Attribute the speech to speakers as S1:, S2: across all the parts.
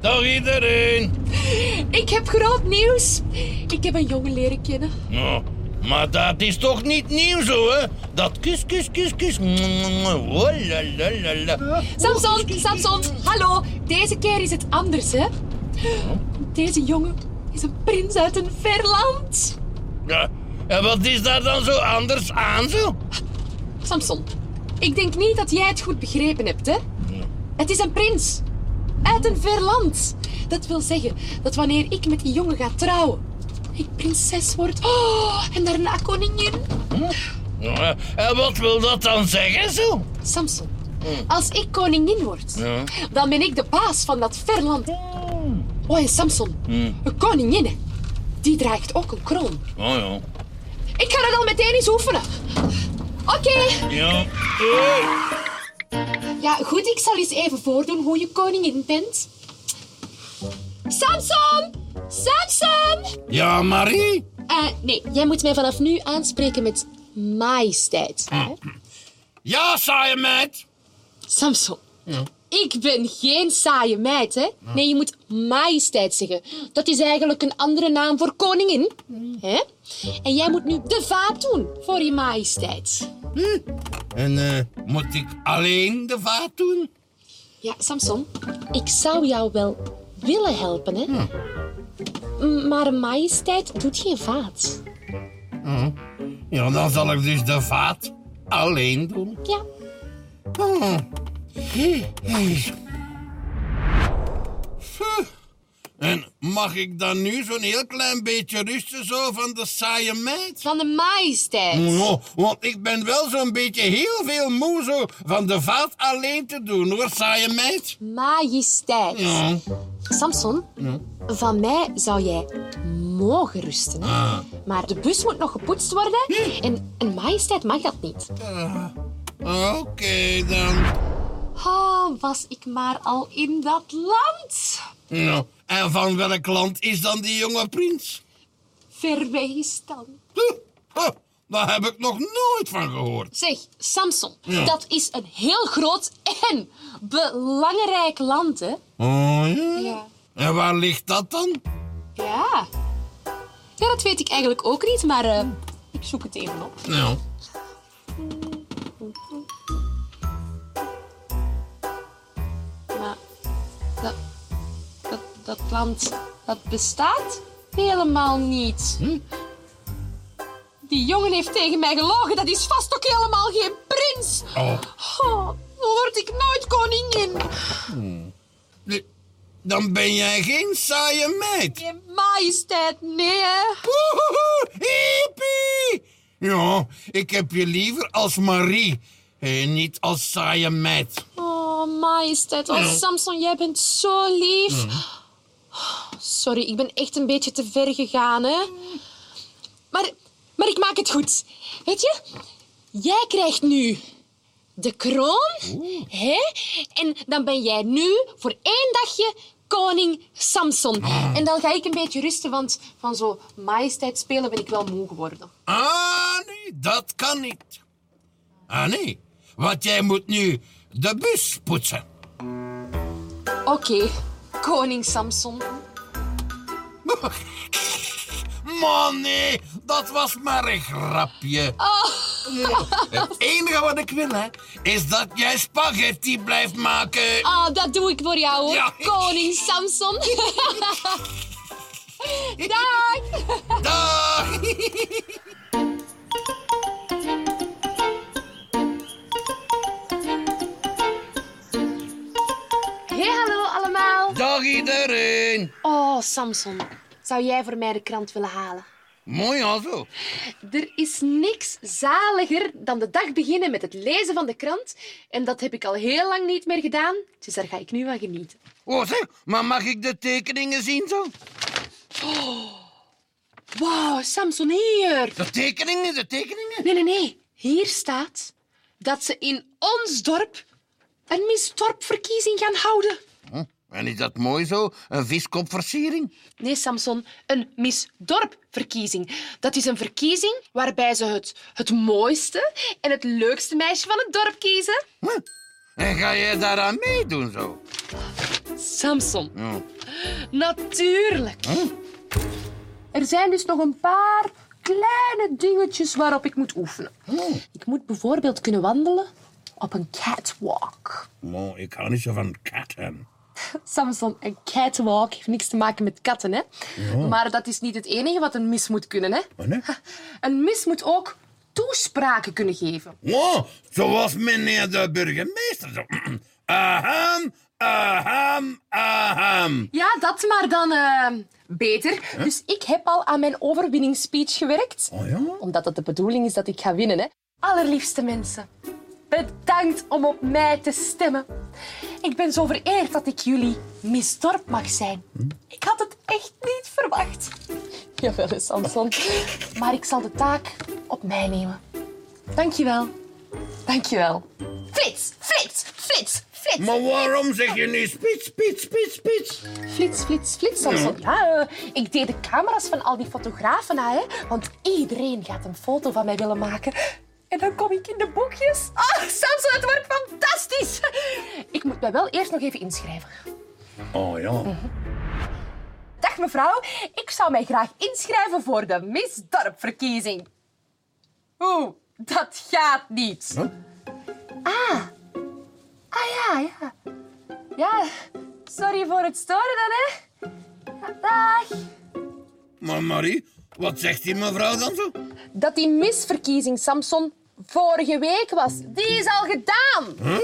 S1: Dag iedereen.
S2: Ik heb groot nieuws. Ik heb een jongen leren kennen.
S1: Nou, maar dat is toch niet nieuw zo, hè? Dat kus, kus, kus, kus. Oh, la, la, la, la.
S2: Samson, Samson, hallo. Deze keer is het anders, hè? Deze jongen is een prins uit een ver land.
S1: Ja, en wat is daar dan zo anders aan, zo?
S2: Samson, ik denk niet dat jij het goed begrepen hebt, hè? Het is een prins. Uit een ver land. Dat wil zeggen dat wanneer ik met die jongen ga trouwen, ik prinses word. Oh, en daarna koningin.
S1: Ja, En wat wil dat dan zeggen, zo?
S2: Samson, als ik koningin word,
S1: Ja.
S2: dan ben ik de baas van dat ver land. Oh, en Samson, een koningin, hè, die draagt ook een kroon.
S1: Oh ja.
S2: Ik ga dat al meteen eens oefenen. Oké,
S1: Ja.
S2: ja goed, ik zal eens even voordoen hoe je koningin bent. Samson! Samson!
S1: Ja, Marie?
S2: Eh, nee, jij moet mij vanaf nu aanspreken met majesteit. hè?
S1: Ja, saaie meid.
S2: Samson, ik ben geen saaie meid, hè? Nee, je moet majesteit zeggen. Dat is eigenlijk een andere naam voor koningin. Hè? En jij moet nu de vaat doen voor je majesteit.
S1: En eh, moet ik alleen de vaat doen?
S2: Ja, Samson, ik zou jou wel willen helpen, hè? M- Maar een majesteit doet geen vaat.
S1: Ja, dan zal ik dus de vaat alleen doen.
S2: Ja,
S1: Oh. En mag ik dan nu zo'n heel klein beetje rusten zo van de saaie meid?
S2: van de majesteit.
S1: Oh, want ik ben wel zo'n beetje heel veel moe zo van de vaat alleen te doen hoor, saaie meid.
S2: Majesteit.
S1: Ja.
S2: Samson, van mij zou jij mogen rusten. Hè?
S1: Ah.
S2: Maar de bus moet nog gepoetst worden en een majesteit mag dat niet.
S1: Ah, Oké dan.
S2: Oh, was ik maar al in dat land.
S1: Nou, en van welk land is dan die jonge prins?
S2: Verwegistan.
S1: Huh, huh, Daar heb ik nog nooit van gehoord.
S2: Zeg, Samson, dat is een heel groot en belangrijk land, hè?
S1: Oh ja? En waar ligt dat dan?
S2: Ja. Ja, dat weet ik eigenlijk ook niet, maar eh, ik zoek het even op.
S1: Nou.
S2: Maar dat, dat, dat land, dat bestaat helemaal niet. Die jongen heeft tegen mij gelogen. Dat is vast ook helemaal geen prins.
S1: Oh.
S2: Oh, dan word ik nooit koningin.
S1: Nee, Dan ben jij geen saaie meid.
S2: Je majesteit, nee. hè.
S1: Woehoehoe, hippie! Ja, ik heb je liever als Marie en niet als saaie meid.
S2: Oh, majesteit. Oh, Samson, jij bent zo lief. Sorry, ik ben echt een beetje te ver gegaan, hè. Maar, maar ik maak het goed. Weet je, jij krijgt nu de kroon, hè? En dan ben jij nu voor één dagje koning Samson. En dan ga ik een beetje rusten, want van zo majesteit spelen ben ik wel moe geworden.
S1: Ah, nee, dat kan niet. Ah, nee, want jij moet nu de bus poetsen.
S2: Oké, koning Samson.
S1: Man, nee, dat was maar een grapje. Ja, Het enige wat ik wil, hè, is dat jij spaghetti blijft maken.
S2: Ah, dat doe ik voor jou, hoor.
S1: Ja.
S2: Koning Samson. Dag!
S1: Dag!
S2: Hey, hallo allemaal.
S1: Dag iedereen.
S2: Oh, Samson. Zou jij voor mij de krant willen halen?
S1: Mooi al zo.
S2: Er is niks zaliger dan de dag beginnen met het lezen van de krant. En dat heb ik al heel lang niet meer gedaan, dus daar ga ik nu van genieten.
S1: Oh, zeg, maar mag ik de tekeningen zien zo?
S2: Wauw, Samson, hier.
S1: De tekeningen, de tekeningen.
S2: Nee, nee, nee. Hier staat dat ze in ons dorp een misdorpverkiezing gaan houden.
S1: En is dat mooi zo? Een viskopversiering?
S2: Nee, Samson, een Miss Dorpverkiezing. Dat is een verkiezing waarbij ze het, het mooiste en het leukste meisje van het dorp kiezen.
S1: Hm? En ga jij daaraan meedoen zo?
S3: Samson. Natuurlijk.
S2: Er zijn dus nog een paar kleine dingetjes waarop ik moet oefenen.
S1: Oh.
S2: Ik moet bijvoorbeeld kunnen wandelen op een catwalk.
S1: Maar ik hou niet zo van katten.
S2: Samson, een catwalk heeft niks te maken met katten, hè? Maar dat is niet het enige wat een mis moet kunnen, hè?
S1: Wat, hè?
S2: Een mis moet ook toespraken kunnen geven.
S1: Oh, zoals meneer de burgemeester. Zo. Aham, aham, aham.
S2: Ja, dat maar dan eh, beter. Dus ik heb al aan mijn overwinningsspeech gewerkt.
S1: Oh ja?
S2: Omdat het de bedoeling is dat ik ga winnen, hè? Allerliefste mensen, bedankt om op mij te stemmen. Ik ben zo vereerd dat ik jullie Miss Dorp mag zijn. Ik had het echt niet verwacht. Jawel, hè, Samson. Maar ik zal de taak op mij nemen. Dankjewel. Dankjewel. Flits, flits, flits, flits.
S1: Maar waarom zeg je nu spits, spits, spits, spits?
S2: Flits, flits, flits. Samson. Ja, eh, ik deed de camera's van al die fotografen na, hè. Want iedereen gaat een foto van mij willen maken. En dan kom ik in de boekjes. Ah, Samson, het wordt fantastisch. Ik moet mij wel eerst nog even inschrijven.
S1: Oh ja.
S2: Dag mevrouw, ik zou mij graag inschrijven voor de Miss Dorpverkiezing. Oeh, dat gaat niet.
S1: Huh?
S2: Ah. Ah ja, ja. Ja, sorry voor het storen dan, hè. Ja, Dag.
S1: Maar Marie, wat zegt die mevrouw dan zo?
S2: dat die misverkiezing, Samson, vorige week was. Die is al gedaan.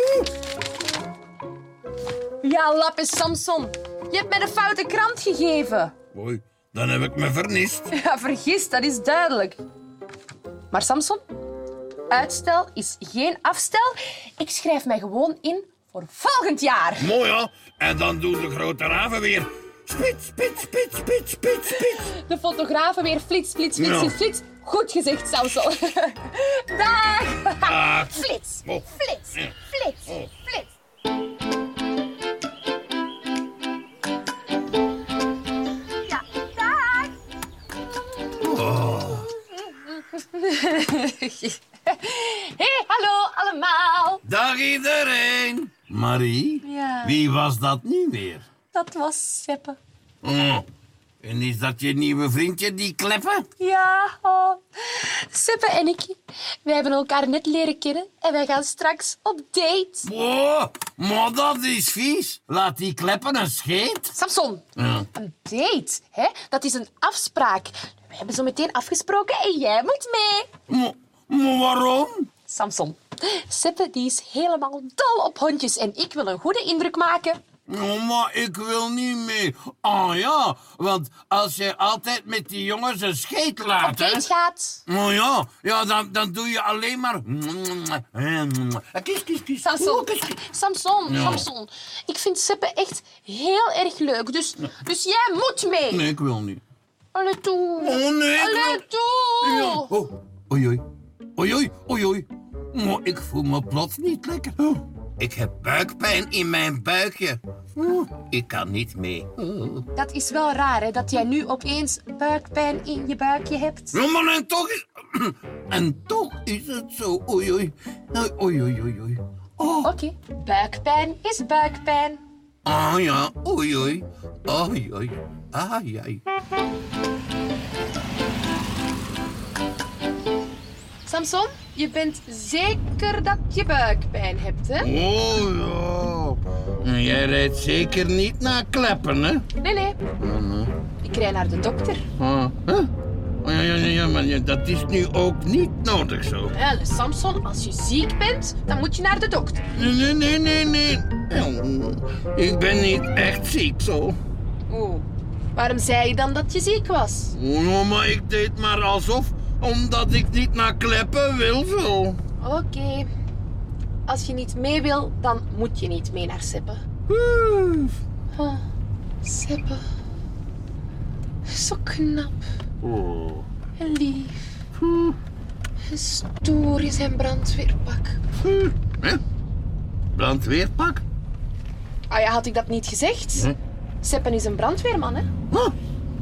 S2: Ja, lap is Samson. Je hebt mij de foute krant gegeven.
S1: Oei, dan heb ik me verniest.
S2: Ja, vergis, dat is duidelijk. Maar Samson, uitstel is geen afstel. Ik schrijf mij gewoon in voor volgend jaar.
S1: Mooi ja. En dan doet de grote raven weer. Spits, spits, spits, spits, spits, spits.
S2: De fotografen weer flits, flits, flits,
S1: Ja.
S2: flits, flits. Goed gezegd, Samson. Dag.
S1: Ah.
S2: Flits,
S1: Oh.
S2: flits,
S1: Ja. Oh.
S2: flits, flits. Ja, dag. hey, hallo allemaal.
S1: Dag iedereen. Marie,
S2: Ja.
S1: wie was dat nu weer?
S2: Dat was Seppe.
S1: Oh, En is dat je nieuwe vriendje, die kleppen?
S2: Ja, oh. Seppe en ik, wij hebben elkaar net leren kennen en wij gaan straks op date.
S1: Oh, maar dat is vies. Laat die kleppen een scheet.
S2: Samson,
S1: Ja.
S2: een date, hè? dat is een afspraak. We hebben zo meteen afgesproken en jij moet mee.
S1: Maar maar waarom?
S2: Samson, Seppe die is helemaal dol op hondjes en ik wil een goede indruk maken.
S1: Oh, maar ik wil niet mee. Ah ja, want als je altijd met die jongens een scheet
S2: Op
S1: laat, hè?
S2: date gaat.
S1: Oh ja, ja dan, dan doe je alleen maar... Kies, kies, kies.
S2: Samson,
S1: Oeh, kies, kies.
S2: Samson, Samson. Ik vind Seppe echt heel erg leuk, dus, dus jij moet mee.
S1: Nee, ik wil niet.
S2: Allee, toe.
S1: Oh, nee, ik
S2: Allee,
S1: wil-
S2: toe.
S1: Ja. Oh, oei, oei. Oei, oei, oei, oei. Maar Nou, ik voel me plots niet lekker. Oh, Ik heb buikpijn in mijn buikje. Oh, Ik kan niet mee. Oh.
S2: Dat is wel raar, hè, dat jij nu opeens buikpijn in je buikje hebt.
S1: Ja, maar en toch is... En toch is het zo. Nou, Oei, oei. Oei, oei, oei, oei, oei. Oh,
S2: Oké, buikpijn is buikpijn.
S1: ah ja. Oei, oei. Oei, oei. Ai, ai.
S2: Samson, je bent zeker dat je buikpijn hebt, hè?
S1: Oh ja. En Jij rijdt zeker niet naar kleppen, hè?
S2: Nee, nee. Ik rij naar de dokter.
S1: Ah, hè? Oh, ja, ja, ja, ja, maar ja, dat is nu ook niet nodig zo.
S2: Wel, Samson, als je ziek bent, dan moet je naar de dokter.
S1: Nee, nee, nee, nee, nee. Oh, Ik ben niet echt ziek zo.
S2: Oeh. Waarom zei je dan dat je ziek was?
S1: Oh, ja, maar ik deed maar alsof, omdat ik niet naar kleppen wil zo.
S2: Oké. Als je niet mee wil, dan moet je niet mee naar Sippe.
S1: Oeh.
S2: Oh, Sippe. Zo knap.
S1: Oh.
S2: En lief. En stoer is zijn brandweerpak.
S1: Oeh. Hè? Brandweerpak?
S2: Ah ja, had ik dat niet gezegd?
S1: Hm?
S2: Seppen is een brandweerman, hè?
S1: Huh?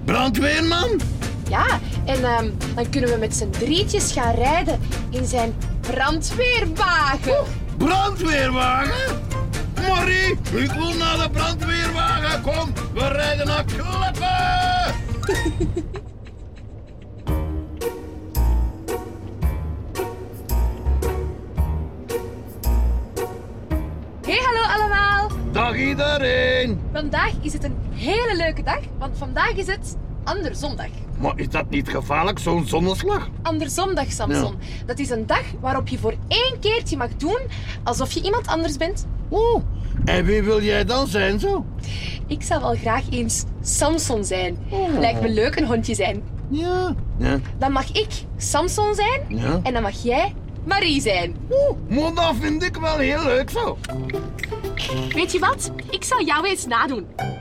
S1: Brandweerman?
S2: Ja, en ehm, dan kunnen we met z'n drietjes gaan rijden in zijn brandweerwagen.
S1: Brandweerwagen? Ja, Marie, ik wil naar de brandweerwagen. Kom, we rijden naar Kleppen.
S2: Hey, hallo allemaal!
S1: Dag iedereen.
S2: Vandaag is het een hele leuke dag, want vandaag is het Anderzondag.
S1: Maar is dat niet gevaarlijk, zo'n zonneslag?
S2: Anderzondag, Samson. Dat is een dag waarop je voor één keertje mag doen alsof je iemand anders bent.
S1: Oeh, en wie wil jij dan zijn zo?
S2: Ik zou wel graag eens Samson zijn. Lijkt me leuk een hondje zijn.
S1: Ja. Ja.
S2: Dan mag ik Samson zijn
S1: Ja.
S2: en dan mag jij Marie zijn.
S1: Oeh, maar dat vind ik wel heel leuk zo.
S2: Weet je wat? Ik zal jou eens nadoen. Maar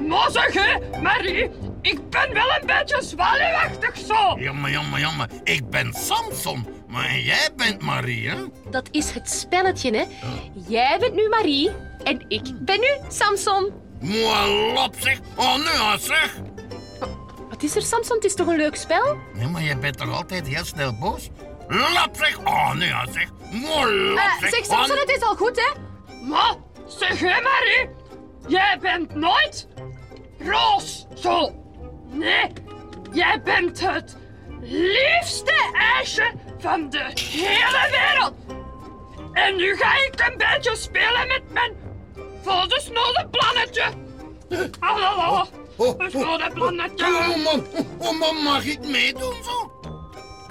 S2: Nou zeg hè, Marie, ik ben wel een beetje zwaluwachtig zo.
S1: Jammer, jammer, jammer. Ik ben Samson, maar jij bent Marie, hè?
S2: Dat is het spelletje, hè? Jij bent nu Marie en ik ben nu Samson.
S1: Mooi lap zeg. Oh, nu al zeg.
S2: Wat is er, Samson? Het is toch een leuk spel?
S1: Nee, maar jij bent toch altijd heel snel boos? Lap zeg. Oh, nu al zeg. Mooi lap
S2: Eh,
S1: zeg.
S2: zeg,
S1: Oh,
S2: Samson,
S1: nu-
S2: het is al goed, hè?
S4: Maar zeg hé Marie, jij bent nooit roos zo. Nee, jij bent het liefste ijsje van de hele wereld. En nu ga ik een beetje spelen met mijn volgesnode plannetje. Hallo,
S1: Oh,
S4: een
S1: oh,
S4: snode plannetje.
S1: Oh, man. Oh, man, mag ik meedoen zo?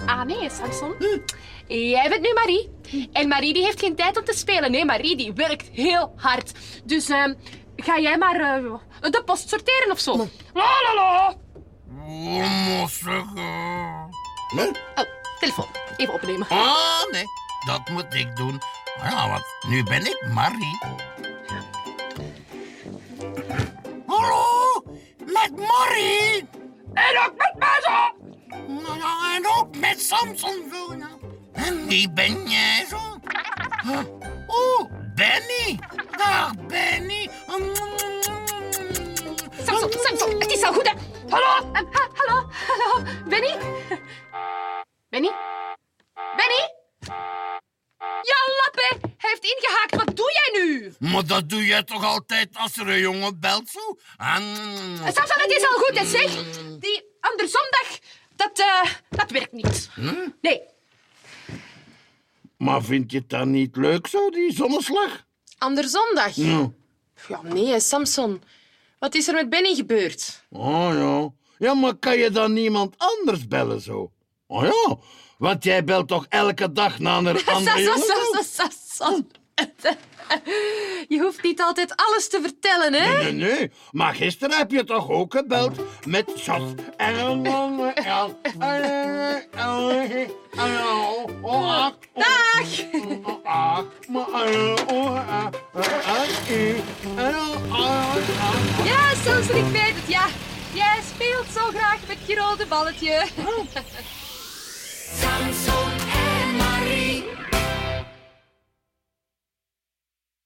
S2: Ah, nee, Samson. Jij bent nu Marie. En Marie die heeft geen tijd om te spelen. Nee, Marie die werkt heel hard. Dus ehm, ga jij maar eh, de post sorteren of zo.
S4: La la la.
S1: Oh, maar zeg. eh. Nee?
S2: Oh, telefoon. Even opnemen.
S1: Ah, nee. Dat moet ik doen. Ja, want nu ben ik Marie. Hallo, met Marie.
S4: En ook met mij zo.
S1: Nou ja, en ook met Samson zo. ja. En wie ben jij zo? Huh? Oh, Benny. Dag, Benny. Mm,
S2: Samson, Samson, het is al goed, hè? Hallo, eh, ha- hallo, hallo, Benny? Benny? Benny? Ja, lappe, hij heeft ingehaakt. Wat doe jij nu?
S1: mm. Maar dat doe jij toch altijd als er een jongen belt zo?
S2: Eh, Samson, het is al goed, hè, zeg. Die andersondag, dat, eh, dat werkt niet. Nee,
S1: Maar vind je het dan niet leuk zo, die zonneslag?
S2: andersondag? Ja, nee, hè, Samson. Wat is er met Benny gebeurd?
S1: Oh ja. Ja, maar kan je dan niemand anders bellen zo? Oh ja, want jij belt toch elke dag naar een andere jongen?
S2: Samson, Samson, Samson. Je hoeft niet altijd alles te vertellen, hè?
S1: Nee, nee, maar gisteren heb je toch ook gebeld met Jos en een man en- en- en- en- en- oh, ah, oh,
S2: Dag!
S1: ah, maar, eh, oh, ah, eh, eh, eh, en- ah, ah, ah.
S2: Ja, Samson, ik weet het, ja. Jij speelt zo graag met je rode balletje.
S5: Samson